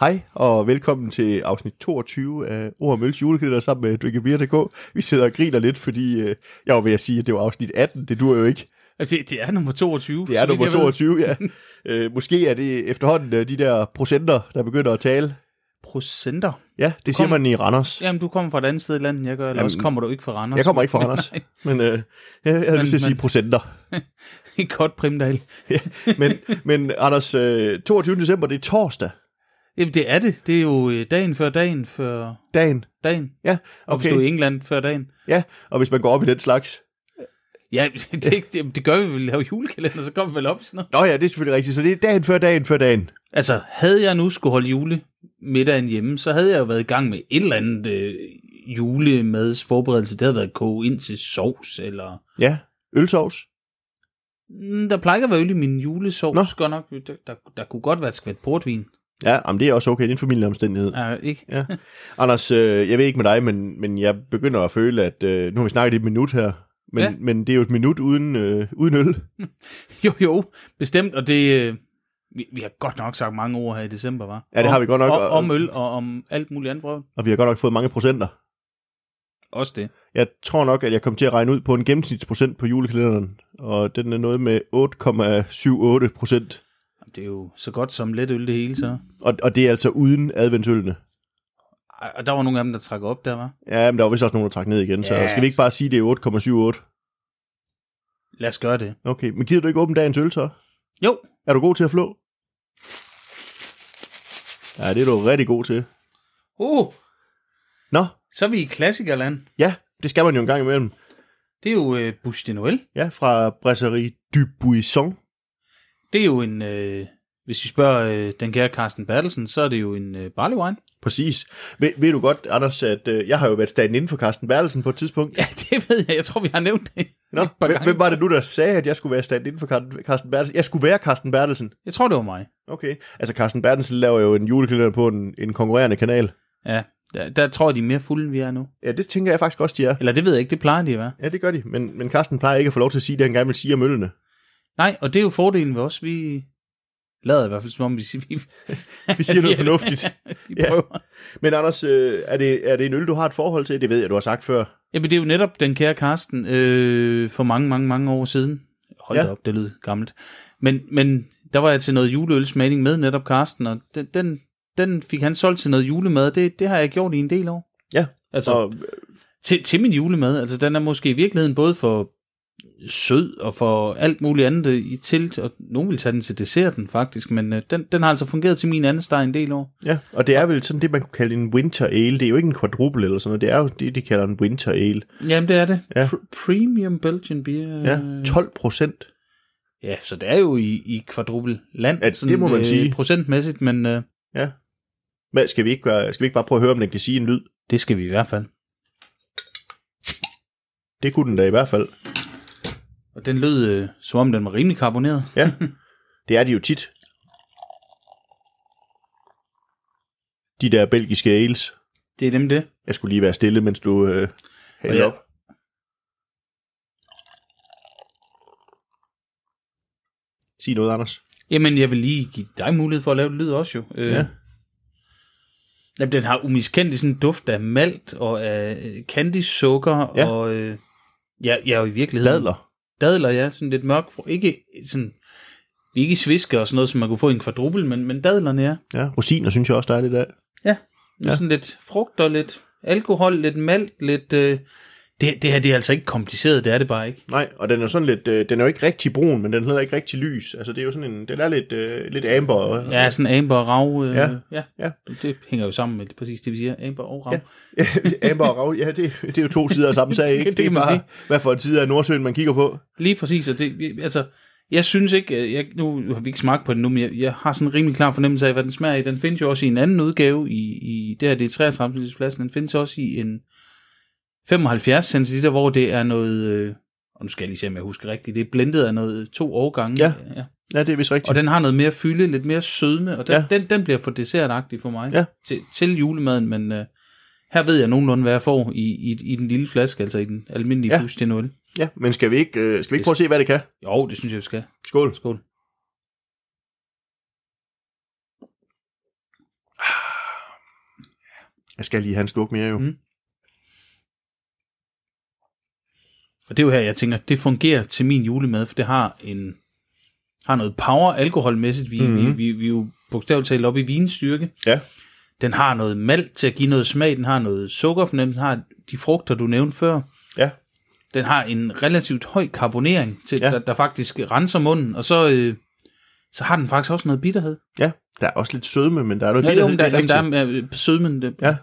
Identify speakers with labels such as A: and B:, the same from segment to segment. A: Hej og velkommen til afsnit 22 af Ord og Mølles julekalender sammen med Drinkabeer.dk. Vi sidder og griner lidt, fordi øh, jeg var ved at sige, at det var afsnit 18. Det dur jo ikke.
B: Altså, det, det er nummer 22.
A: Det
B: så
A: er
B: vidt
A: nummer
B: jeg ved.
A: 22, ja. Øh, måske er det efterhånden øh, de der procenter, der begynder at tale.
B: Procenter.
A: Ja, det siger
B: kommer-
A: man i Randers.
B: Jamen, du kommer fra et andet sted i landet, end jeg gør, eller
A: Jamen,
B: også kommer du ikke fra Randers.
A: Jeg kommer ikke fra Randers, men øh, jeg, jeg har
B: Men-
A: lyst til at
B: men-
A: sige procenter.
B: ikke godt, Primdal.
A: Ja, men, men Anders, øh, 22. december, det er torsdag
B: Jamen, det er det. Det er jo øh, dagen før dagen før
A: dagen.
B: dagen.
A: Ja,
B: Og okay. hvis du er i England før dagen.
A: Ja, og hvis man går op i den slags.
B: Ja, det, er ikke- det, det gør vi vel. Lave julekalender, så kommer vi vel op i sådan noget.
A: Nå ja, det er selvfølgelig rigtigt, så det er dagen før dagen før dagen.
B: Altså, havde jeg nu skulle holde julemiddagen hjemme, så havde jeg jo været i gang med et eller andet øh, julemads forberedelse. Det havde været koge ind til sovs, eller...
A: Ja, ølsovs.
B: Mm, Der plejer ikke at være øl i min julesovs,
A: Nå.
B: Nå. godt nok. Der, der, der kunne godt være et skvæt portvin.
A: Ja, jamen det er også okay. Det er en familieomstændighed. Ja.
B: Ja, ikke?
A: Anders, øh, jeg ved ikke med dig, men, men jeg begynder at føle, at øh, nu har vi snakket i et minut her. Men, ja.
B: Ja.
A: men det er jo et minut uden, øh, uden øl.
B: Jo, jo, bestemt, og det... øh, Vi, vi har godt nok sagt mange ord her i december, var.
A: Ja, det
B: om,
A: har vi godt nok,
B: Og,
A: og-
B: om øl og om alt muligt andet brød.
A: Og vi har godt nok fået mange procenter.
B: Også det.
A: Jeg tror nok, at jeg kom til at regne ud på en gennemsnitsprocent på julekalenderen. Og den er noget med 8,78 procent.
B: Jamen, Det er jo så godt som let øl det hele, så.
A: Og, og det er altså uden adventsølene.
B: Ej, Og der var nogle af dem, der trak op der, var.
A: Ja, men der var vist også nogen, der trak ned igen. Så
B: Ja.
A: skal vi ikke bare sige, at det er 8,78?
B: Lad os gøre det.
A: Okay, men gider du ikke åbne dagens øl så?
B: Jo,
A: Er du god til at flå? Ja, det er du rigtig god til.
B: uh,
A: Nå,
B: så er vi i klassikerland.
A: Ja, det skal man jo en gang imellem.
B: Det er jo øh, Bouche de Noël.
A: Ja, fra brasserie du Buisson.
B: Det er jo en, øh, hvis vi spørger øh, den kære Carsten Bertelsen, så er det jo en øh, barley wine.
A: Præcis. Ved, ved du godt, Anders, at øh, jeg har jo været stand inden for Carsten Bertelsen på et tidspunkt.
B: Ja, det ved jeg. Jeg tror, vi har nævnt det.
A: Nå,
B: et par
A: hvem-
B: gange.
A: hvem var det nu, der sagde, at jeg skulle være stand inden for Car- Carsten Bertelsen? Jeg skulle være Carsten Bertelsen.
B: Jeg tror, det var mig.
A: Okay. Altså, Carsten Bertelsen laver jo en julekalender på en, en konkurrerende kanal.
B: Ja, der, der tror jeg, de er mere fulde, end vi er nu.
A: Ja, det tænker jeg faktisk også, de er.
B: Eller det ved jeg ikke, det plejer de at være.
A: Ja, det gør de. Men, men Carsten plejer ikke at få lov til at sige det, han gerne vil sige om møllene.
B: Nej, og det er jo fordelen ved os. Vi lader i hvert fald, som om vi, vi,
A: Vi siger noget fornuftigt.
B: vi
A: Ja.
B: prøver. Ja.
A: Men Anders, øh, er, det, er det en øl, du har et forhold til? Det ved jeg, du har sagt før.
B: Jamen, det er jo netop den kære Karsten øh, for mange, mange, mange år siden. Hold
A: Ja.
B: ja. da op, det lød gammelt. Men, men der var jeg til noget juleølsmagning med netop Karsten, og den, den, den fik han solgt til noget julemad. Det, det har jeg gjort i en del år.
A: Ja,
B: Altså,
A: Så,
B: til, til min julemad. Altså, den er måske i virkeligheden både for sød og for alt muligt andet øh, i tilt, og nogen vil tage den til desserten faktisk, men øh, den, den har altså fungeret til min anden steg en del år.
A: Ja, og det er vel sådan det, man kunne kalde en winter ale. Det er jo ikke en quadruple eller sådan noget. Det er jo det, de kalder en winter ale.
B: Jamen, det er det.
A: Ja.
B: Pr- premium Belgian beer. øh,
A: Ja, 12 procent.
B: ja, så det er jo i, i kvadrupel land.
A: Ja, det må man sige.
B: Procentmæssigt, men øh,
A: Ja. Hvad, skal, vi ikke gøre, skal vi ikke bare prøve at høre, om den kan sige en lyd?
B: det skal vi i hvert fald.
A: Det kunne den da i hvert fald.
B: Og den lød, øh, som om den var rimelig karboneret.
A: Ja, det er de jo tit. De der belgiske ales.
B: Det er dem det.
A: Jeg skulle lige være stille, mens du øh, hældte
B: Ja.
A: op. Sig noget, Anders.
B: Jamen, jeg vil lige give dig mulighed for at lave det lyd også jo. Øh,
A: Ja.
B: Jamen, den har umiskendelig sådan en duft af malt og af øh, candysukker
A: Ja.
B: ja. og... Øh, ja, ja, og i virkeligheden...
A: Dadler.
B: Dadler, ja. Sådan lidt mørk. fru- Ikke sådan... vi er Ikke svisker og sådan noget, som man kunne få i en kvadrupel, men, men dadlerne, ja.
A: Ja, rosiner synes jeg også, der er lidt af.
B: ja. Sådan lidt frugt og lidt alkohol, lidt malt, lidt... Øh, det, det her, det er altså ikke kompliceret, det er det bare ikke.
A: Nej, og den er sådan lidt, øh, den er jo ikke rigtig brun, men den er heller ikke rigtig lys. Altså det er jo sådan en, den er lidt, øh, lidt amber. Og,
B: Ja, sådan amber og rav. Øh,
A: Ja.
B: ja.
A: Ja.
B: Det hænger jo sammen med det, præcis det, vi siger. Amber og rav.
A: Ja. amber og rav, ja, det, det er jo to sider af samme sag, ikke?
B: Det kan man sige.
A: hvad for en side af Nordsøen, man kigger på.
B: Lige præcis, og det, altså, jeg synes ikke, øh, jeg, nu har vi ikke smagt på den nu, men jeg, jeg har sådan en rimelig klar fornemmelse af, hvad den smager i. Den findes jo også i en anden udgave, i, i det her, det er 33 liters flasken, den findes også i en 75 cl, hvor det er noget, øh, og nu skal jeg lige se, om jeg husker rigtigt, det er blendet af noget to årgange.
A: Ja.
B: ja.
A: Ja, det er vist rigtigt.
B: Og den har noget mere fylde, lidt mere sødme, og den,
A: Ja.
B: ja. den, den bliver for dessertagtig for mig
A: Ja.
B: til, til julemaden, men øh, her ved jeg nogenlunde, hvad jeg får i, i, i den lille flaske, altså i den almindelige
A: Ja.
B: ja. til 0.
A: Ja, men skal vi ikke, øh, skal vi ikke
B: Hvis-
A: prøve at se, hvad det kan?
B: Jo, det synes jeg, vi skal.
A: Skål.
B: Skål.
A: Jeg skal lige have en sluk mere jo.
B: Mm. Og det er jo her, jeg tænker, det fungerer til min julemad, for det har en har noget power alkoholmæssigt. Vi,
A: Mhm.
B: mm-hmm. vi, vi, vi er jo bogstaveligt talt op i vinstyrke.
A: Ja.
B: Den har noget malt til at give noget smag. Den har noget sukkerfornemmelse. Den har de frugter, du nævnte før.
A: Ja.
B: Den har en relativt høj karbonering, til,
A: Ja.
B: ja. der, der faktisk renser munden. Og så, øh, så har den faktisk også noget bitterhed.
A: Ja. Der er også lidt sødme, men der er noget
B: Ja, jo,
A: bitterhed,
B: men
A: det er
B: der, jamen, der
A: rigtigt.
B: er øh, sødmen, det
A: Ja.
B: ja.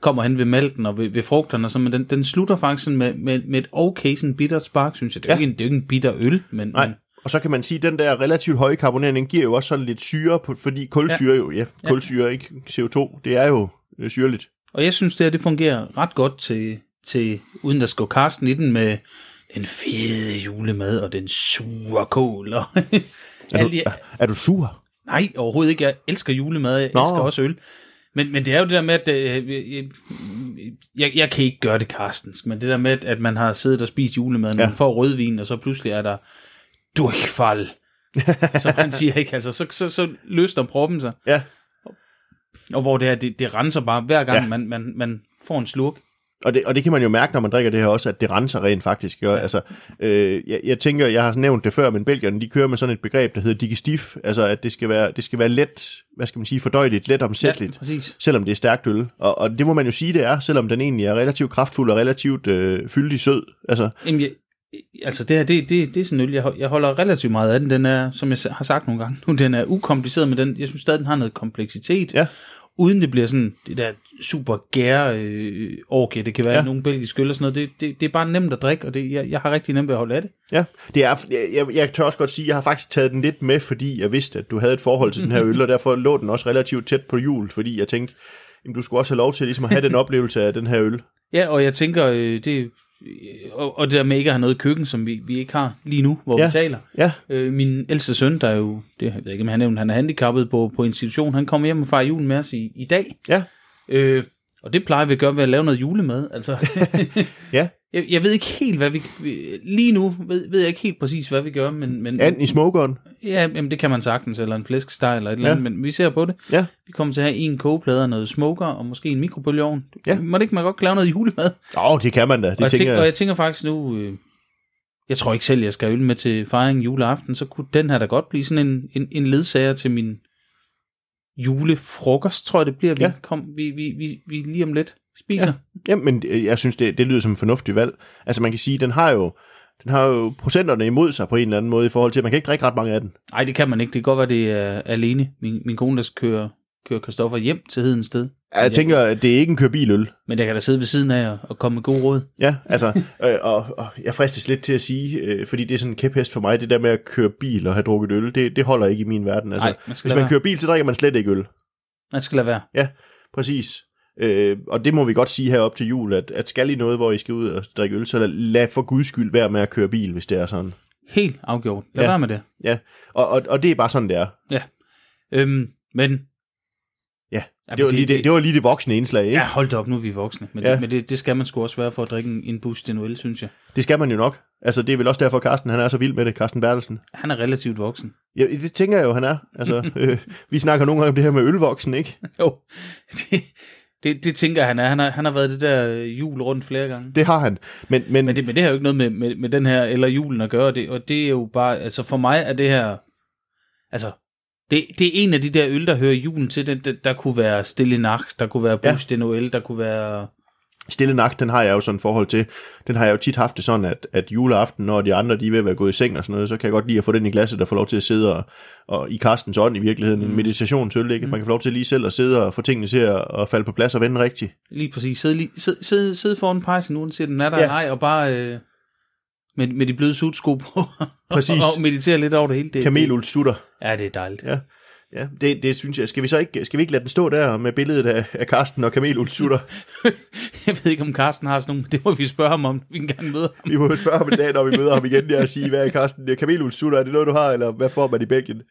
B: kommer hen ved malten og ved, ved frugterne, og så, men den, den slutter faktisk sådan med, med, med et okay sådan bittert spark, synes jeg. Det er,
A: Ja.
B: ja. ikke, en, det er jo ikke en bitter øl, men,
A: Nej.
B: men
A: Og så kan man sige, at den der relativt høje karbonering, den giver jo også sådan lidt syre, på, fordi kulsyre jo, ja, kulsyre, ikke CO2, det er jo øh, syrligt.
B: Og jeg synes, det her, det fungerer ret godt til, til uden der skal gå karsten i den med den fede julemad og den sure kål. Og
A: Er
B: alle
A: du,
B: de,
A: er, er du sur?
B: nej, overhovedet ikke. Jeg elsker julemad, jeg
A: Nå.
B: elsker også øl. Men, men det er jo det der med, at øh, jeg, jeg, jeg kan ikke gøre det karstens, men det der med, at- at man har siddet og spist julemad, ja.
A: Ja.
B: man får rødvin, og så pludselig er der durchfald, som man siger, ikke? Altså, så, så, så løsner proppen sig.
A: Ja.
B: Og hvor det her, det, det renser bare hver gang,
A: Ja.
B: ja. man, man, man får en slurk.
A: Og det, og det kan man jo mærke, når man drikker det her også, at det renser rent faktisk. Ja. Altså, øh, jeg, jeg tænker, jeg har nævnt det før, men Belgierne, de kører med sådan et begreb, der hedder digestif, altså at det skal være, det skal være let, hvad skal man sige, fordøjeligt, let omsætteligt.
B: Ja, præcis.
A: selvom det er stærkt øl. Og, og det må man jo sige, det er, selvom den egentlig er relativt kraftfuld og relativt øh, fyldig sød. Altså,
B: Jamen, jeg, altså det her, det, det, det er sådan en øl, jeg, hol- jeg holder relativt meget af den. Den er, som jeg s- har sagt nogle gange nu, den er ukompliceret, men den, jeg synes stadig, den har noget kompleksitet.
A: Ja.
B: Uden det bliver sådan det der super gære øh, orgie, det kan være
A: Ja.
B: ja. nogle belgiske øl og sådan noget. Det, det, det er bare nemt at drikke, og det, jeg, jeg har rigtig nemt ved at holde af det.
A: ja, det er, jeg- jeg, jeg tør også godt sige, jeg har faktisk taget den lidt med, fordi jeg vidste, at du havde et forhold til den her øl, og derfor lå den også relativt tæt på jul, fordi jeg tænkte, jamen, du skulle også have lov til ligesom at have den oplevelse af den her øl.
B: Ja, og jeg tænker, øh, det, øh, og, og det der med ikke at have noget i køkken, som vi, vi ikke har lige nu, hvor
A: Ja.
B: ja. vi taler.
A: Ja,
B: Øh, min ældste søn, der er jo, det, jeg ved ikke om han nævnte, han er handicappet på, på institution, han kommer hjem og fejrer julen med os i, i dag.
A: ja,
B: Øh, og det plejer vi at gøre ved at lave noget julemad. Altså,
A: ja.
B: jeg, jeg ved ikke helt, hvad vi... vi- Lige nu ved, ved jeg ikke helt præcis, hvad vi gør, men... men
A: And i smokeren.
B: ja, jamen, det kan man sagtens, eller en flæskesteg eller et eller
A: Ja.
B: andet, men vi ser på det.
A: Ja,
B: Vi kommer til at have en kogeplade og noget smoker, og måske en mikrobølgeovn.
A: Ja.
B: Må det ikke man godt kan lave noget julemad?
A: Åh, oh, det kan man da.
B: og, jeg
A: Det
B: tænker,
A: tænker
B: og
A: jeg.
B: jeg tænker faktisk nu... Øh, jeg tror ikke selv, jeg skal have øl med til fejringen juleaften, så kunne den her da godt blive sådan en, en, en ledsager til min julefrokost, tror jeg det bliver. Vi,
A: Ja.
B: kom, vi, vi, vi, vi lige om lidt spiser. Ja.
A: Jamen, øh, jeg synes, det, det lyder som en fornuftig valg. Altså, man kan sige, den har jo den har jo procenterne imod sig på en eller anden måde i forhold til, at man kan ikke drikke ret mange af den.
B: Nej, det kan man ikke. Det kan godt være, det er alene. Min, min kone, der skal køre, køre Christoffer hjem til Hedens sted.
A: Jeg tænker, at det er ikke en kørebiløl.
B: Men jeg kan da sidde ved siden af og, og komme med gode råd.
A: Ja, altså, øh, og, og jeg fristes lidt til at sige, øh, fordi det er sådan en kæphest for mig, det der med at køre bil og have drukket øl, det, det holder ikke i min verden. Altså,
B: Nej, man skal
A: hvis
B: lade
A: man
B: være.
A: kører bil, så drikker man slet ikke øl.
B: Man skal lade være.
A: Ja, præcis. Øh, og det må vi godt sige herop til jul, at, at skal I noget, hvor I skal ud og drikke øl, så lad, lad for guds skyld være med at køre bil, hvis det er sådan.
B: Helt afgjort. Lad
A: Ja.
B: ja. være med det.
A: Ja, og, og, og det er bare sådan, det er.
B: Øhm, men
A: Ja,
B: Jamen,
A: det var,
B: det-
A: lige det,
B: det-
A: det var lige det voksne indslag, ikke?
B: ja, hold da op, nu er vi voksne. Men,
A: Ja.
B: ja. men det, det skal man sgu også være for at drikke en, en bus til Noel, synes jeg.
A: Det skal man jo nok. Altså, det er vel også derfor, Carsten, han er så vild med det, Carsten Bertelsen.
B: Han er relativt voksen.
A: Ja, det tænker jeg jo, han er. Altså, øh, vi snakker nogle gange om det her med ølvoksen, ikke?
B: Jo, det, det, det tænker jeg, han er. Han har, han har været det der øh, jul rundt flere gange.
A: Det har han. Men, men,
B: Men det, men det har jo ikke noget med, med, med den her eller julen at gøre, og det, og det er jo bare, altså for mig er det her, altså, det, det er en af de der øl, der hører julen til, den, der, der kunne være Stille Nacht, der kunne være
A: Ja.
B: Bush ja. Noel, der kunne være,
A: Stille Nagt, den har jeg jo sådan et forhold til. Den har jeg jo tit haft det sådan, at, at juleaften, når de andre de er ved at være gået i seng og sådan noget, så kan jeg godt lide at få den i glasset og få lov til at sidde og, og i Karstens ånd i virkeligheden,
B: Mm.
A: en meditationsøl, ikke? Man kan få lov til lige selv at sidde og få tingene til at, at falde på plads og vende rigtigt.
B: lige præcis, sidde, lige- sidde, sidde, sidde foran pejsen, uanset den er der
A: Ja.
B: ja. eller ej, og bare øh, med, med de bløde sutsko på,
A: Præcis.
B: og, og meditere lidt over det hele. Det,
A: Kamelulsutter.
B: det- Ja, det er dejligt.
A: Ja. Ja, det, det synes jeg. Skal vi så ikke, skal vi ikke lade den stå der med billedet af, af Karsten og kamelulsutter?
B: Jeg ved ikke, om Carsten har sådan nogle, men det må vi spørge ham om, vi kan gerne møde ham.
A: Vi må jo spørge ham en dag, når vi møder ham igen, der og sige, hvad er Carsten, det er kamelulsutter, er det noget, du har, eller hvad får man i Belgien?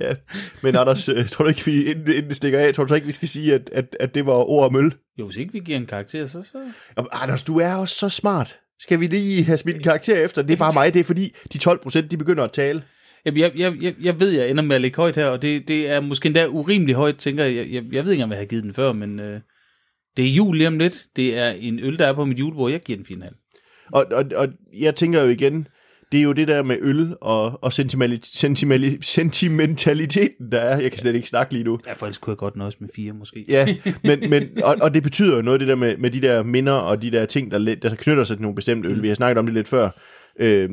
A: Ja, men Anders, øh, tror du ikke, vi, inden, inden det stikker af, tror du så ikke, vi skal sige, at, at, at det var ord og møl?
B: Jo, hvis ikke vi giver en karakter, så... så...
A: Jamen, Anders, du er også så smart. Skal vi lige have smidt en karakter efter? Det er bare mig, det er fordi, de 12 procent, de begynder at tale.
B: Jamen, jeg, jeg, jeg, jeg ved, jeg ender med at ligge højt her, og det, det er måske endda urimelig højt, tænker jeg. Jeg, jeg. jeg ved ikke, om jeg har givet den før, men øh, Det er jul lige om lidt. Det er en øl, der er på mit julebord. Jeg giver den 4,5.
A: Og, og, og jeg tænker jo igen, det er jo det der med øl og, og sentimali- sentimali- sentimentaliteten, der er. Jeg kan slet ikke snakke lige nu.
B: Ja, for ellers kunne jeg godt nøjes med 4 måske.
A: Ja, men, men og, og det betyder jo noget, det der med, med de der minder og de der ting, der, lidt, der knytter sig til nogle bestemte øl. Vi har snakket om det lidt før. Øh,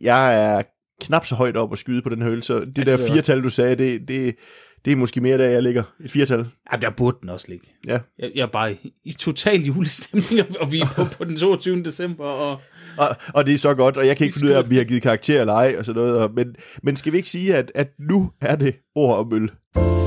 A: jeg er knap så højt op at skyde på den her øl, så det, det der
B: ved jeg
A: firtal, du sagde, det, det, det er måske mere der, jeg ligger. Et firtal,
B: Ja, der burde den også ligge.
A: ja.
B: Jeg, jeg er bare i, i total julestemning, og- og vi er på, på den 22. december, og
A: Og, og det er så godt, og jeg kan ikke finde ud af, om vi har givet karakter eller ej, og sådan noget. og- Men, men skal vi ikke sige, at, at nu er det ord om øl?